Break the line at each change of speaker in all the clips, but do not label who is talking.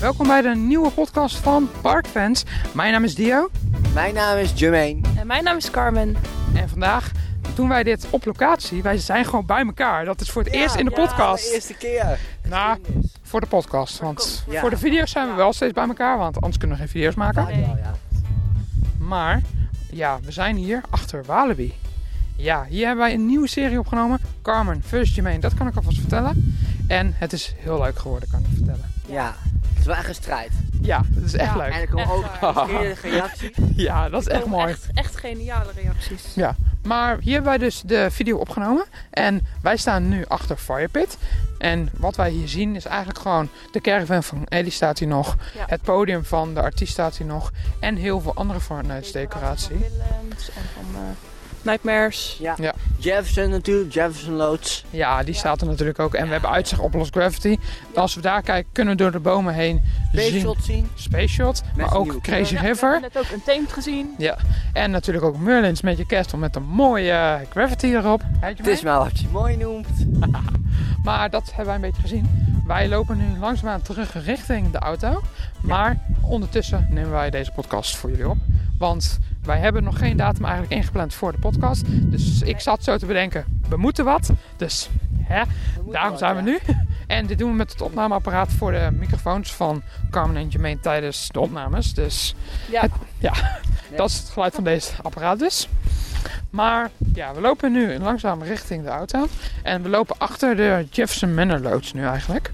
Welkom bij de nieuwe podcast van Parkfans. Mijn naam is Dio
Mijn naam is Jermaine.
En Eh, mijn naam is Carmen.
en vandaag doen wij dit op locatie. Wij zijn gewoon bij elkaar. Dat is voor het eerst in de
ja,
podcast.
de eerste keer.
Nou, voor de podcast. Want
Ja.
voor de video's zijn we wel steeds bij elkaar, want anders kunnen we geen video's maken.
Nee.
Nou ja.
Maar ja, we zijn hier achter Walibi. Ja, hier hebben wij een nieuwe serie opgenomen. Carmen vs. Jermaine, dat kan ik alvast vertellen. En het is heel leuk geworden, kan ik vertellen.
ja, het is wel echt een strijd.
Ja, dat is echt
Ja,
leuk.
En ik kom
Echt
ook
waar.
de reactie.
Ja, dat is echt mooi.
Echt, echt geniale reacties.
Ja, maar hier hebben wij dus de video opgenomen. En wij staan nu achter Firepit. En wat wij hier zien is eigenlijk gewoon de caravan van Ellie staat hier nog.
Ja.
Het podium van de artiest staat hier nog. En heel veel andere Fortnite-decoratie.
Van Willems en van eh, Nightmares.
Ja.
Ja.
Jefferson natuurlijk, Jefferson Loods.
Ja, die
Ja.
staat er natuurlijk ook. En we hebben uitzicht op Lost Gravity. Als we daar kijken, kunnen we door de bomen heen
Space
zien.
shot zien.
Space Shot, maar
een
ook
nieuwe
Crazy
Ja,
River.
We hebben net ook een teamt gezien.
En natuurlijk ook Merlin's Magic Castle met een mooie eh, Gravity erop. Heet je
Het is maar wat je mooi noemt.
Maar dat hebben wij een beetje gezien. Wij lopen nu langzaamaan terug richting de auto. Maar ondertussen nemen wij deze podcast voor jullie op. Want wij hebben nog geen datum eigenlijk ingepland voor de podcast. Dus ik zat zo te bedenken, we moeten wat. Dus hè, daarom zijn we nu. En dit doen we met het opnameapparaat voor de microfoons van Carmen en Jermaine tijdens de opnames. Dus
Ja.
Ja.
dat is het geluid van deze apparaat dus. Maar ja, we lopen nu langzaam richting de auto. En we lopen achter de Jefferson Manor Loods nu eigenlijk.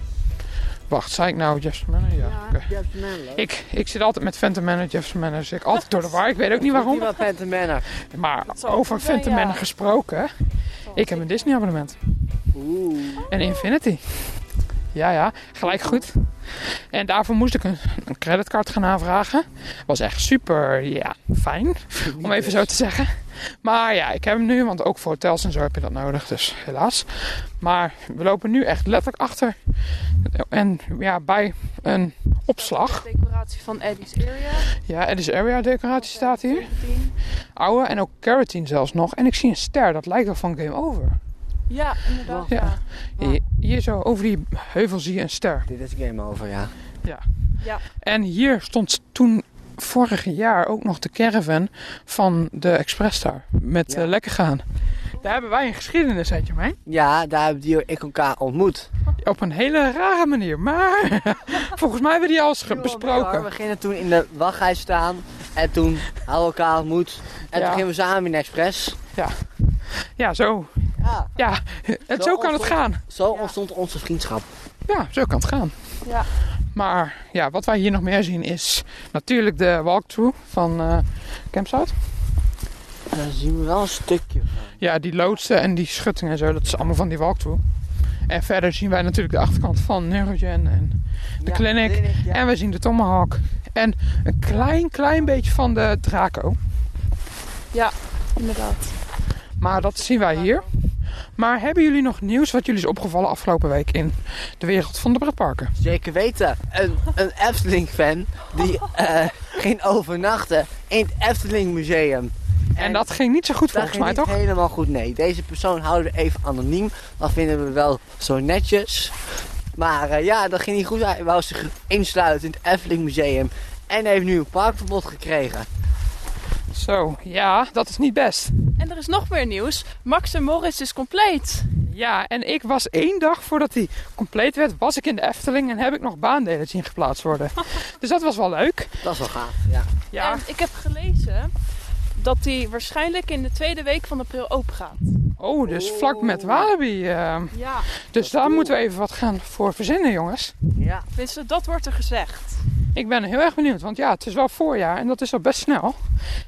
Wacht, zei ik nou Jefferson Manor? Ja,
Ja,
oké.
Jefferson Manor.
Ik, ik zit altijd met Phantom Manor, Jefferson Manor. Dus ik altijd door de war. Ik weet ook niet waarom.
Prima Phantom Manor.
Maar
Dat zal
over
ook wel,
Phantom
ja.
Manor gesproken. Ik heb een Disney abonnement.
Oeh.
En Infinity. Ja, ja, gelijk goed. En daarvoor moest ik een, een creditcard gaan aanvragen. Was echt super, ja, fijn. Om even zo te zeggen. Maar ja, ik heb hem nu, want ook voor hotels en zo heb je dat nodig. Dus helaas. Maar we lopen nu echt letterlijk achter. En ja, bij een opslag.
De decoratie van Eddie's Area.
Ja, Edis Area decoratie staat hier. Oude en ook Caratine zelfs nog. En ik zie een ster, dat lijkt wel van Game Over.
Ja, inderdaad.
Ja.
Ja.
Hier, hier zo over die heuvel zie je een ster.
Dit is game over, ja.
En hier stond toen vorig jaar ook nog de caravan van de Express daar. Met
Ja.
eh, lekker gaan. Daar hebben wij een geschiedenis, weet je mij.
Ja, daar hebben die ik elkaar ontmoet.
Op een hele rare manier. Maar volgens mij hebben we die al eens ge-
We
besproken.
gingen toen in de wachtrij staan. En toen hadden we elkaar ontmoet. En
Ja.
toen gingen we samen in Express.
Ja, zo.
Ja,
Ja, het, zo kan het gaan.
zo
Ja.
ontstond onze vriendschap.
Ja, zo kan het gaan.
Ja.
Maar ja, wat wij hier nog meer zien is natuurlijk de walkthrough van eh Campsite.
Daar zien we wel een stukje van.
Ja, die loodsen en die schuttingen en zo, dat is allemaal van die walkthrough. En verder zien wij natuurlijk de achterkant van Neurogen en De clinic.
ja.
En we zien de tomahawk. En een klein, klein beetje van de Draco.
inderdaad.
Maar dat zien wij hier. Maar hebben jullie nog nieuws wat jullie is opgevallen afgelopen week in de wereld van de pretparken?
Zeker weten. Een, een Efteling-fan die eh, ging overnachten in het Efteling Museum.
En dat ging niet zo goed
dat
volgens
ging
mij,
niet
toch?
helemaal goed. Nee, deze persoon houden we even anoniem. Dat vinden we wel zo netjes. Maar eh, ja, dat ging niet goed. Hij wou zich insluiten in het Efteling Museum. En heeft nu een parkverbod gekregen.
Zo, ja, dat is niet best.
En er is nog meer nieuws. Max en Morris is compleet.
Ja, en ik was één dag voordat die compleet werd, was ik in de Efteling en heb ik nog baandelen zien geplaatst worden. Dus dat was wel leuk.
Dat is wel gaaf, ja.
Ja,
En ik heb gelezen dat die waarschijnlijk in de tweede week van april open gaat.
oh, dus vlak met Walibi. ehm.
Ja.
dus daar moeten we even wat gaan voor verzinnen, jongens.
Ja,
Tenminste, dat wordt er gezegd.
Ik ben heel erg benieuwd, want ja, het is wel voorjaar en dat is al best snel.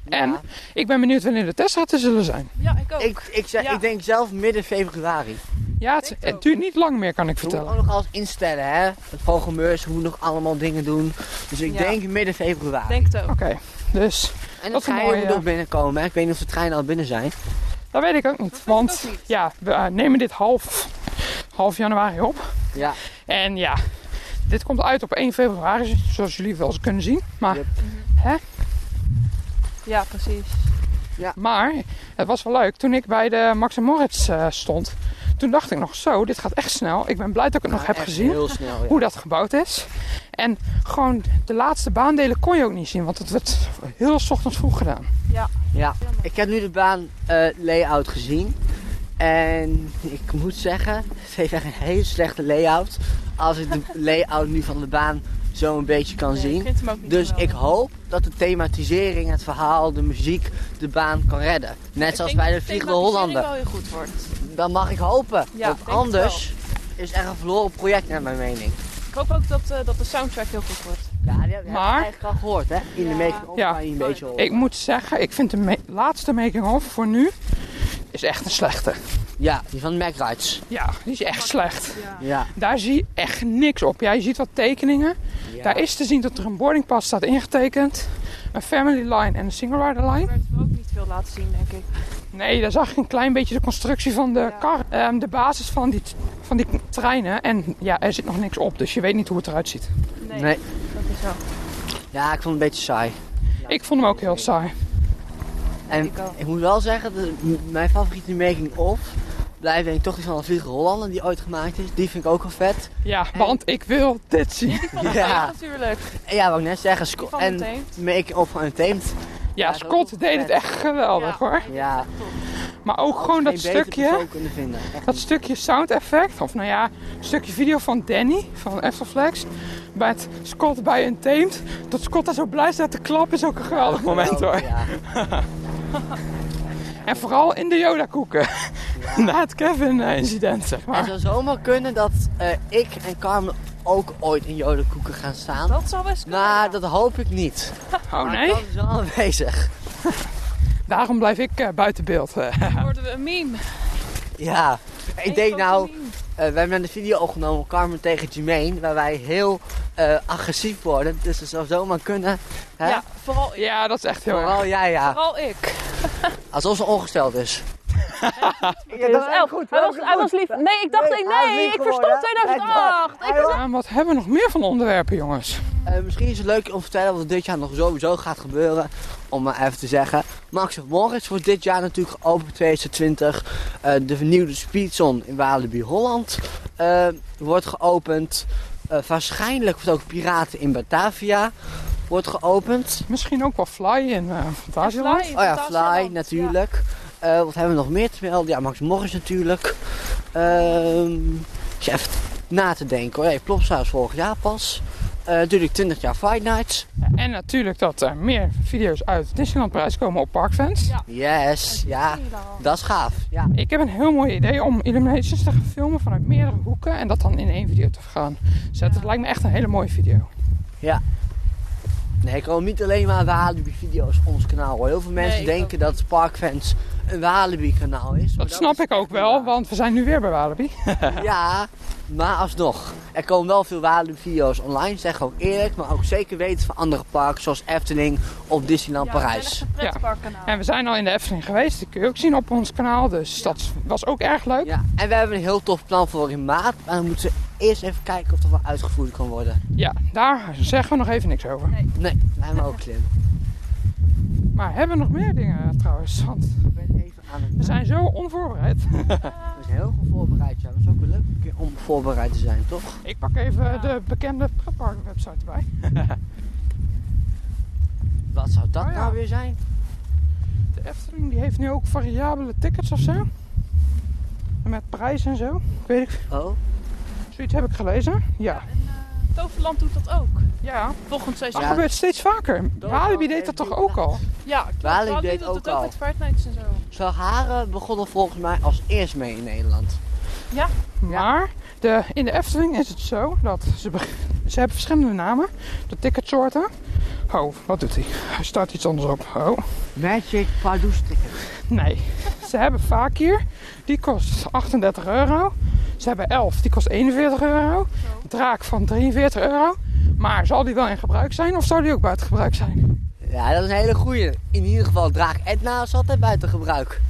En
Ja.
ik ben benieuwd wanneer de testdaten zullen zijn.
Ja, ik ook.
Ik, ik, zeg,
Ja.
ik denk zelf midden februari.
Ja, het,
Weet
het
ook.
duurt niet lang meer, kan ik
We moeten
vertellen.
ook nog alles instellen, hè. Het vogelmeurs, hoe nog allemaal dingen doen. Dus ik
Ja.
denk midden februari.
Denk het ook.
Oké, dus
En de
Wat een
treinen
mooie,
moeten
ja.
ook binnenkomen. hè. Ik weet niet of de treinen al binnen zijn.
dat weet ik ook niet.
ik
Want
ook niet.
ja, we eh, nemen dit half, half januari op.
Ja.
En ja, dit komt uit op 1 februari, zoals jullie wel eens kunnen zien.
Ah,
Maar,
Yep.
Ja, precies.
maar het was wel leuk. Toen ik bij de Max Moritz eh, stond, toen dacht ik nog zo, dit gaat echt snel. Ik ben blij dat ik het nog heb gezien.
Heel snel, ja.
hoe dat gebouwd is. En gewoon de laatste baandelen kon je ook niet zien, want het werd heel 's ochtends vroeg gedaan.
Ja, ik heb nu de baan eh, layout gezien. En ik moet zeggen, het heeft echt een hele slechte layout. Als ik de layout nu van de baan zo een beetje kan
Nee, Ik
zien.
vind hem ook niet
Dus ik
geweldig.
hoop dat de thematisering, het verhaal, de muziek de baan kan redden. Net
Ik
zoals
denk
bij de
dat
Vliegende
thematisering
Hollander.
wel heel goed wordt.
Dan mag ik hopen.
Ja,
want
denk het
anders is het echt een verloren project naar mijn mening.
Ik hoop ook dat, eh, dat de soundtrack heel goed wordt.
Ja, die heb ik
Maar-
eigenlijk al gehoord, hè? In de
Ja.
making of
Ja.
kan je een beetje horen.
Ik moet zeggen, ik vind de me- laatste making-of voor nu is echt een slechte.
Ja, die van Mac Rights.
Ja, die is echt slecht.
Ja.
Daar zie je echt niks op. Ja, je ziet wat tekeningen.
Ja.
Daar is te zien dat er een boarding pass staat ingetekend. Een family line en een single rider line.
Daar werd hem ook niet veel laten zien, denk ik.
Nee, daar zag ik een klein beetje de constructie van de
Ja.
kar. ehm, de basis van die, t- van die treinen. En ja, er zit nog niks op. Dus je weet niet hoe het eruit ziet.
Nee,
nee.
dat is zo.
Ja, ik vond het een beetje saai.
Ik vond hem ook heel saai.
En
Ik ook.
ik moet wel zeggen, dat m- mijn favoriete making-of blijft denk ik toch die van de Vliegende Hollander die ooit gemaakt is. Die vind ik ook wel vet.
Ja, want ik wil dit zien.
Ja,
Ja,
natuurlijk.
en ja, wou ik net zeggen.
Die
Sco-
van
en
meteen.
making-of van Untamed.
Ja,
Ja,
Scott
dat-
deed het echt geweldig
Ja.
hoor.
Ja,
Maar ook gewoon dat
geen beter
stukje,
persoon kunnen vinden. Echt
dat
niet.
stukje sound effect. Of nou ja, een stukje video van Danny van Eftelflex. Met Scott bij een teemt. Dat Scott daar zo blij staat te klappen is ook een geweldig moment hoor.
Ja,
En vooral in de Yoda koeken.
ja.
Na het Kevin eh, incident zeg
Het
maar.
zou zomaar kunnen dat eh, ik en Carmen ook ooit in jodenkoeken gaan staan.
Dat zal best kunnen. ja.
Maar Nou, dat hoop ik niet.
Oh
Maar
nee,
Dat is wel aanwezig.
daarom blijf ik eh, buiten beeld. eh.
Dan worden we een meme.
Ja. Ik
Eén
deed
grote
nou,
meme.
eh, we hebben een video opgenomen, Carmen tegen Jermaine, waar wij heel eh, agressief worden. Dus het zou zomaar kunnen. Hè?
Ja, vooral ik.
Ja, dat is echt heel erg.
Vooral jij, ja.
Vooral ik.
Alsof ze ongesteld is. ja,
Hij was elf. Hij was, hij was lief. Nee, ik dacht, nee,
Nee, hij is lief
ik
geworden,
verstond
hè?
2008. Ik verstond...
Ja, wat hebben we nog meer van onderwerpen jongens?
Eh, misschien is het leuk om te vertellen wat dit jaar nog sowieso gaat gebeuren. Om maar even te zeggen. Max of Morris wordt dit jaar natuurlijk geopend 2020. Eh, de vernieuwde Speedzone in Walibi Holland eh, wordt geopend. Eh, waarschijnlijk wordt ook Piraten in Batavia wordt geopend.
Misschien ook wel Fly in eh Fantasieland.
Fly,
Oh ja,
Fantasieland.
Fly natuurlijk. Eh, wat hebben we nog meer te melden? Ja, Max Morris natuurlijk. Ehm ik zit even na te denken hoor. Hey, Plopsaus vorig jaar pas. Eh, natuurlijk 20 jaar Fight Nights.
En natuurlijk dat er meer video's uit Disneyland Parijs komen op Parkfans.
Ja.
Yes, ja. Dat is gaaf. Ja.
Ik heb een heel mooi idee om Illuminations te gaan filmen vanuit meerdere hoeken en dat dan in één video te gaan zetten.
Ja.
Dat lijkt me echt een hele mooie
Oh,
video.
Nee, ik wil niet alleen maar Walibi video's op ons kanaal hoor. Heel veel mensen
ik
denken
ook
dat Parkfans een Walibi kanaal is. maar
Dat snap
is
ik ook
echt niet
wel,
waar.
want we zijn nu weer bij Walibi.
Ja, maar alsnog. Er komen wel veel waarde video's online, zeg ook eerlijk. Maar ook zeker weten van andere parken zoals Efteling of Disneyland Parijs.
Ja, het is echt een
En we zijn al in de Efteling geweest, dat kun je ook zien op ons kanaal, dus
Ja.
dat was ook erg leuk.
Ja, en we hebben een heel tof plan voor in maart. Maar dan moeten we eerst even kijken of dat wel uitgevoerd kan worden.
Ja, daar zeggen we nog even niks over.
Nee, wij hebben ook slim.
Maar hebben we nog meer dingen eh, trouwens? Want
Ik ben even aan het...
we zijn zo onvoorbereid.
We zijn heel goed voorbereid, ja. Dat is ook wel leuk een keer om voorbereid te zijn, toch?
Ik pak even de bekende pretpark website erbij.
Wat zou dat
Oh ja.
nou weer zijn?
De Efteling die heeft nu ook variabele tickets of zo. Met prijs en zo. Ik weet ik,
Oh,
zoiets heb ik gelezen. Ja.
eh, Toverland doet dat ook.
Ja.
Volgend
Dat
seizoen.
Ja.
gebeurt steeds vaker. Walibi deed dat
heeft
toch
die
ook al?
Ja, klopt.
Walibi
Walibi
deed
doet
ook
het
al.
ook met Fight Nights en zo.
Salharen begon er volgens mij als eerst mee in Nederland.
Maar de, in de Efteling is het zo dat ze, beg- ze hebben verschillende namen. De ticketsoorten. Oh, wat doet hij? Hij start iets anders op. Oh.
Magic Pardoes ticket.
Nee. Ze hebben Fakir, die kost 38 euro. Ze hebben Elf, die kost 41 euro. Draak van 43 euro. Maar zal die wel in gebruik zijn of zou die ook buiten gebruik zijn?
Ja, dat is een hele goeie. In ieder geval draag Edna zat er buiten gebruik.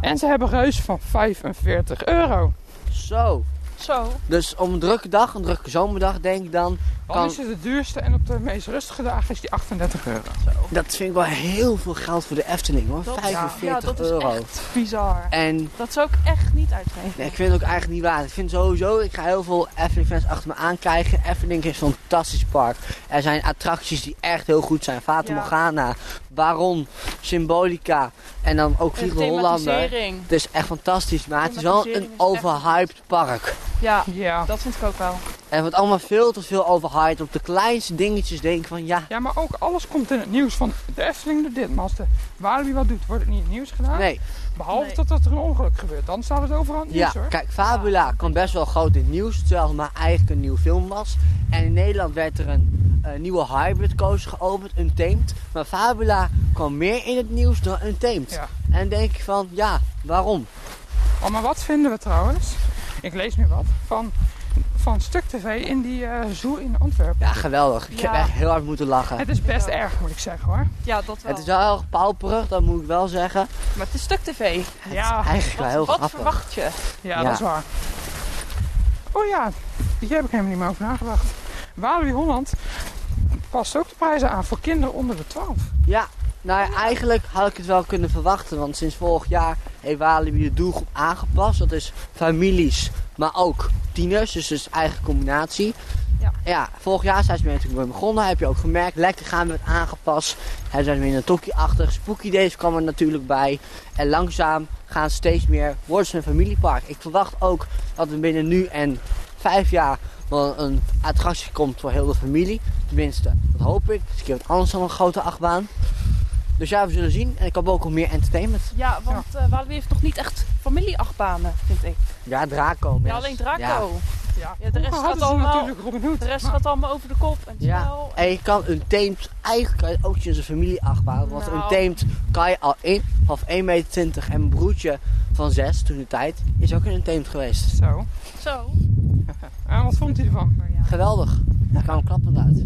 En ze hebben Reus van 45 euro.
Zo.
Zo.
Dus om een drukke dag, een drukke zomerdag, denk ik dan,
Dan
Kan-
is het de duurste en op de meest rustige dagen is die 38 euro.
Dat vind ik wel heel veel geld voor de Efteling hoor.
Dat-
45
ja, dat is
euro.
echt bizar.
En
Dat zou ik echt niet uitgeven.
nee, ik vind het ook eigenlijk niet waard. Ik vind sowieso, ik ga heel veel Efteling fans achter me aankijken. Efteling is een fantastisch park. Er zijn attracties die echt heel goed zijn. Fata
Ja.
Morgana, Baron, Symbolica en dan ook
Een
Vliegende Hollander.
Eh, thematisering.
Het is echt fantastisch, maar het is wel een
Thematisering is echt-
overhyped park.
Ja,
Ja.
dat vind ik ook wel.
Er wordt allemaal veel te veel overhyped. Op de kleinste dingetjes denk ik van ja,
ja, maar ook alles komt in het nieuws van de Efteling doet dit. Maar als de Walibi wat doet, wordt het niet in het nieuws gedaan.
nee.
Behalve
Nee.
dat er een ongeluk gebeurt. Dan staat het overal in het
Ja,
nieuws hoor.
kijk, Fabula kwam best wel groot in het nieuws, terwijl het maar eigenlijk een nieuw film was. En in Nederland werd er een, eh, nieuwe hybrid coaster geopend, Untamed. Maar Fabula kwam meer in het nieuws dan Untamed.
Ja.
En dan denk ik van, ja, waarom?
Oh, maar wat vinden we trouwens? Ik lees nu wat van, van Stuk TV in die eh zoo in Antwerpen.
Ja, geweldig. Ik
Ja.
heb echt heel hard moeten lachen.
Het is best
Ja.
erg moet ik zeggen hoor.
Ja, dat wel.
Het is wel heel erg pauperig, dat moet ik wel zeggen.
Maar het is stuk tv.
Ja,
Eigenlijk wel
Wat,
heel
wat
grappig.
verwacht je?
ja,
Ja.
dat is waar. Oh ja, hier heb ik helemaal niet meer over nagedacht. Walibi Holland past ook de prijzen aan voor kinderen onder de 12.
Ja, nou ja, eigenlijk had ik het wel kunnen verwachten. Want sinds vorig jaar heeft Walibi de doelgroep aangepast. Dat is families, maar ook tieners. Dus dat is eigen combinatie.
Ja.
vorig jaar zijn ze mee natuurlijk weer begonnen. Heb je ook gemerkt. Lekker gaan we het aangepast. Er zijn weer een tokkie achter. Spooky Days kwam er natuurlijk bij. En langzaam gaan ze steeds meer. Worden ze een familiepark. Ik verwacht ook dat we binnen nu en vijf jaar wel een attractie komt voor heel de familie. Tenminste, dat hoop ik. Het is een keer wat anders dan een grote achtbaan. Dus ja, we zullen zien. En ik hoop ook op meer entertainment.
Ja, want eh Walibi heeft nog niet echt familieachtbanen, vind ik.
Ja, Draco.
Ja,
mensen.
alleen
Ja.
Draco.
Ja,
de rest gaat
dan
allemaal-
natuurlijk Robin Hood.
De rest
maar-
gaat allemaal over de kop en
Ja.
snel.
En je kan een teemt, eigenlijk kan je het ook in zijn familie achtbaan. Want
Nou.
een teemt kan je al in, of 1,20 meter en een broertje van 6 toen de tijd is ook in een teemt geweest.
Zo.
Zo.
En Eh, wat vond hij ervan?
Maar ja.
Geweldig. Daar kwam klappend uit.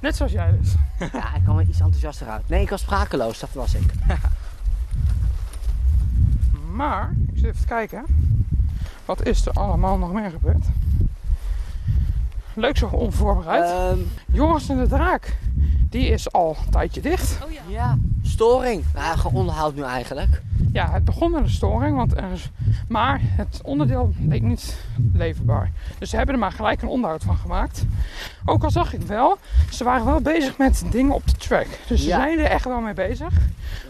Net zoals jij dus.
Ja, ik kwam er iets enthousiaster uit. Nee, ik was sprakeloos, dat was ik.
Maar, ik zit even te kijken. Wat is er allemaal nog meer gebeurd? Leuk zo onvoorbereid.
Ehm,
Joris en de Draak. Die is al een tijdje dicht.
Oh ja.
ja, storing. Nou, gewoon onderhoud nu eigenlijk.
Ja, het begon met een storing. Want er is- maar het onderdeel leek niet leverbaar. Dus ze hebben er maar gelijk een onderhoud van gemaakt. Ook al zag ik wel, ze waren wel bezig met dingen op de track. Dus ze
Ja.
zijn er echt wel mee bezig.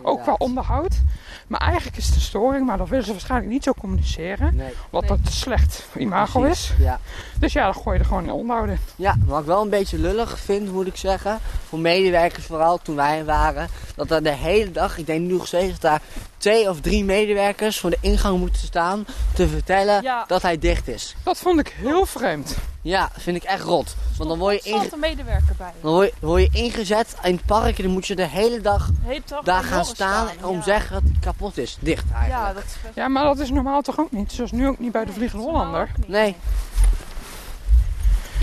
Ook qua
wel
onderhoud. Maar eigenlijk is het een storing. Maar dat willen ze waarschijnlijk niet zo communiceren.
Nee.
Wat
Nee.
dat slecht imago
precies.
is.
Ja.
Dus ja, dan gooi je er gewoon in onderhouden.
Ja, wat ik wel een beetje lullig vind, moet ik zeggen. Voor medewerkers vooral, toen wij er waren. Dat daar de hele dag, ik denk nu nog steeds, dat daar twee of drie medewerkers voor de ingang moeten staan. Te vertellen
Ja.
dat hij dicht is.
Dat vond ik heel vreemd.
Ja, vind ik echt rot. Want dan word je,
Er
inge-
staat een medewerker bij.
dan word je, word je ingezet in het park en dan moet je de hele dag
De hele dag
daar
bij
gaan
Joris
staan en om
ja.
zeggen dat hij kapot is. Dicht eigenlijk.
Ja, dat is best-
Ja, maar dat is normaal toch ook niet? Zoals nu ook niet bij de Vliegende
Nee, dat is normaal
Hollander.
ook niet.
Nee.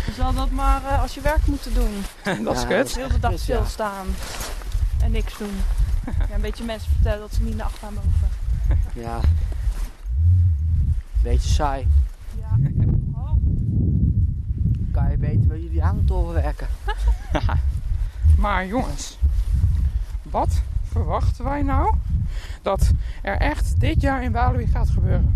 Je zal dat maar eh, als je werk moeten doen.
dat is
Ja,
kut.
Heel de dag
Kut, ja.
stilstaan. En niks doen. Ja, een beetje mensen vertellen dat ze niet naar achtbaan mogen.
Ja. Beetje saai.
Ja. Oh.
Kan je beter bij jullie aan het werken.
Maar jongens, wat verwachten wij nou dat er echt dit jaar in Walibi gaat gebeuren?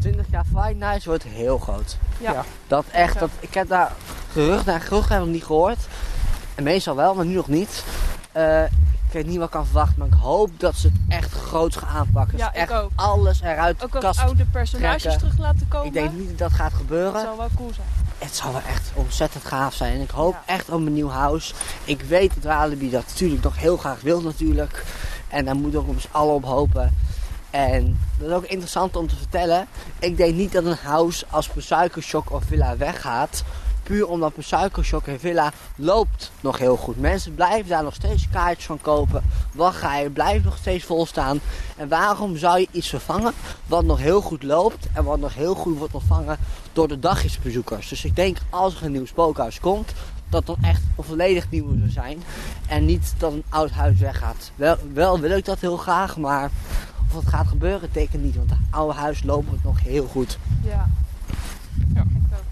20 jaar Fight Nights wordt heel groot.
Ja.
Ja.
Dat echt,
Ja.
dat, ik heb daar gerucht naar gerucht heb ik niet gehoord. En meestal wel, maar nu nog niet. Eh, ik weet niet wat ik kan verwachten, maar ik hoop dat ze het echt groot gaan aanpakken.
Ja,
Dus
ik
echt
ook.
alles eruit de
Ook als
kast.
oude personages
trekken.
terug laten komen.
Ik denk niet dat dat gaat
Dat
gebeuren.
zou wel cool zijn.
Het zal wel echt ontzettend gaaf zijn. En ik hoop
Ja.
echt op een nieuw huis. Ik weet dat Walibi dat natuurlijk nog heel graag wil natuurlijk. En daar moeten we ook ons allen op hopen. En dat is ook interessant om te vertellen. Ik denk niet dat een huis als Suikershok of Villa weggaat. Puur omdat Suikershok en Villa loopt nog heel goed. Mensen blijven daar nog steeds kaartjes van kopen. Wat ga je? Blijft nog steeds volstaan. En waarom zou je iets vervangen wat nog heel goed loopt en wat nog heel goed wordt ontvangen door de dagjesbezoekers. Dus ik denk als er een nieuw spookhuis komt, dat dan echt een volledig nieuw zou zijn. En niet dat een oud huis weggaat. Wel, wel wil ik dat heel graag, maar of het gaat gebeuren, teken niet. Want het oude huis loopt het nog heel goed.
Ja.
Ja.
Ik ook.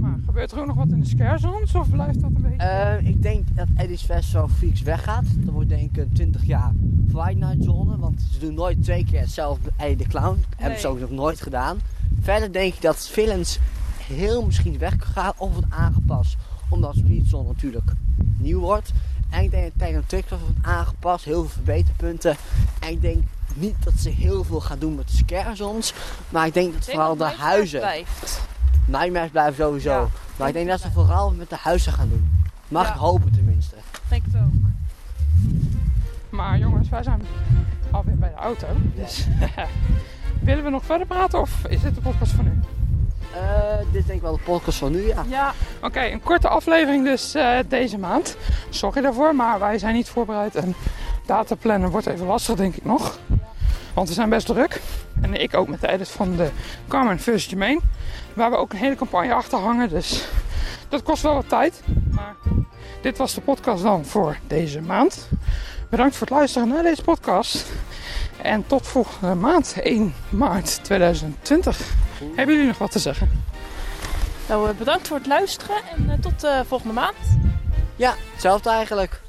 Maar gebeurt Gebeurt er ook nog wat in de scarezons of blijft dat een beetje...
Eh, ik denk dat Eddie's Fest zo fix weggaat. Dat wordt denk ik een 20 jaar Friday Night Zone. Want ze doen nooit twee keer hetzelfde Eddie de Clown. Hebben ze
Nee.
ook nog nooit gedaan. Verder denk ik dat Villains heel misschien weggaat of wordt aangepast. Omdat Speedzone natuurlijk nieuw wordt. En ik denk dat Tijd en Tricksters wordt aangepast. Heel veel verbeterpunten. En ik denk niet dat ze heel veel gaan doen met de scare zones. Maar ik denk dat
Ik denk
vooral
dat
de
Nijmegen
huizen...
blijft.
Nightmares blijven sowieso.
Ja,
maar ik denk
denk
dat
het
ze vooral met de huizen gaan doen. Mag
Ja.
ik hopen tenminste.
Denk het ook.
Maar jongens, wij zijn alweer bij de auto. Dus willen we nog verder praten of is dit de podcast van nu?
Eh, dit is denk ik wel de podcast van nu, ja.
Ja,
Oké, een korte aflevering dus eh, deze maand. Sorry daarvoor, maar wij zijn niet voorbereid. En dataplannen wordt even lastig, denk ik nog. Want we zijn best druk. En ik ook met de edit van de Carmen vs. Jermaine. Waar we ook een hele campagne achter hangen. Dus dat kost wel wat tijd. Maar dit was de podcast dan voor deze maand. Bedankt voor het luisteren naar deze podcast. En tot volgende maand, 1 maart 2020. Hebben jullie nog wat te zeggen?
nou eh, bedankt voor het luisteren en eh, tot eh volgende maand.
Ja, hetzelfde eigenlijk.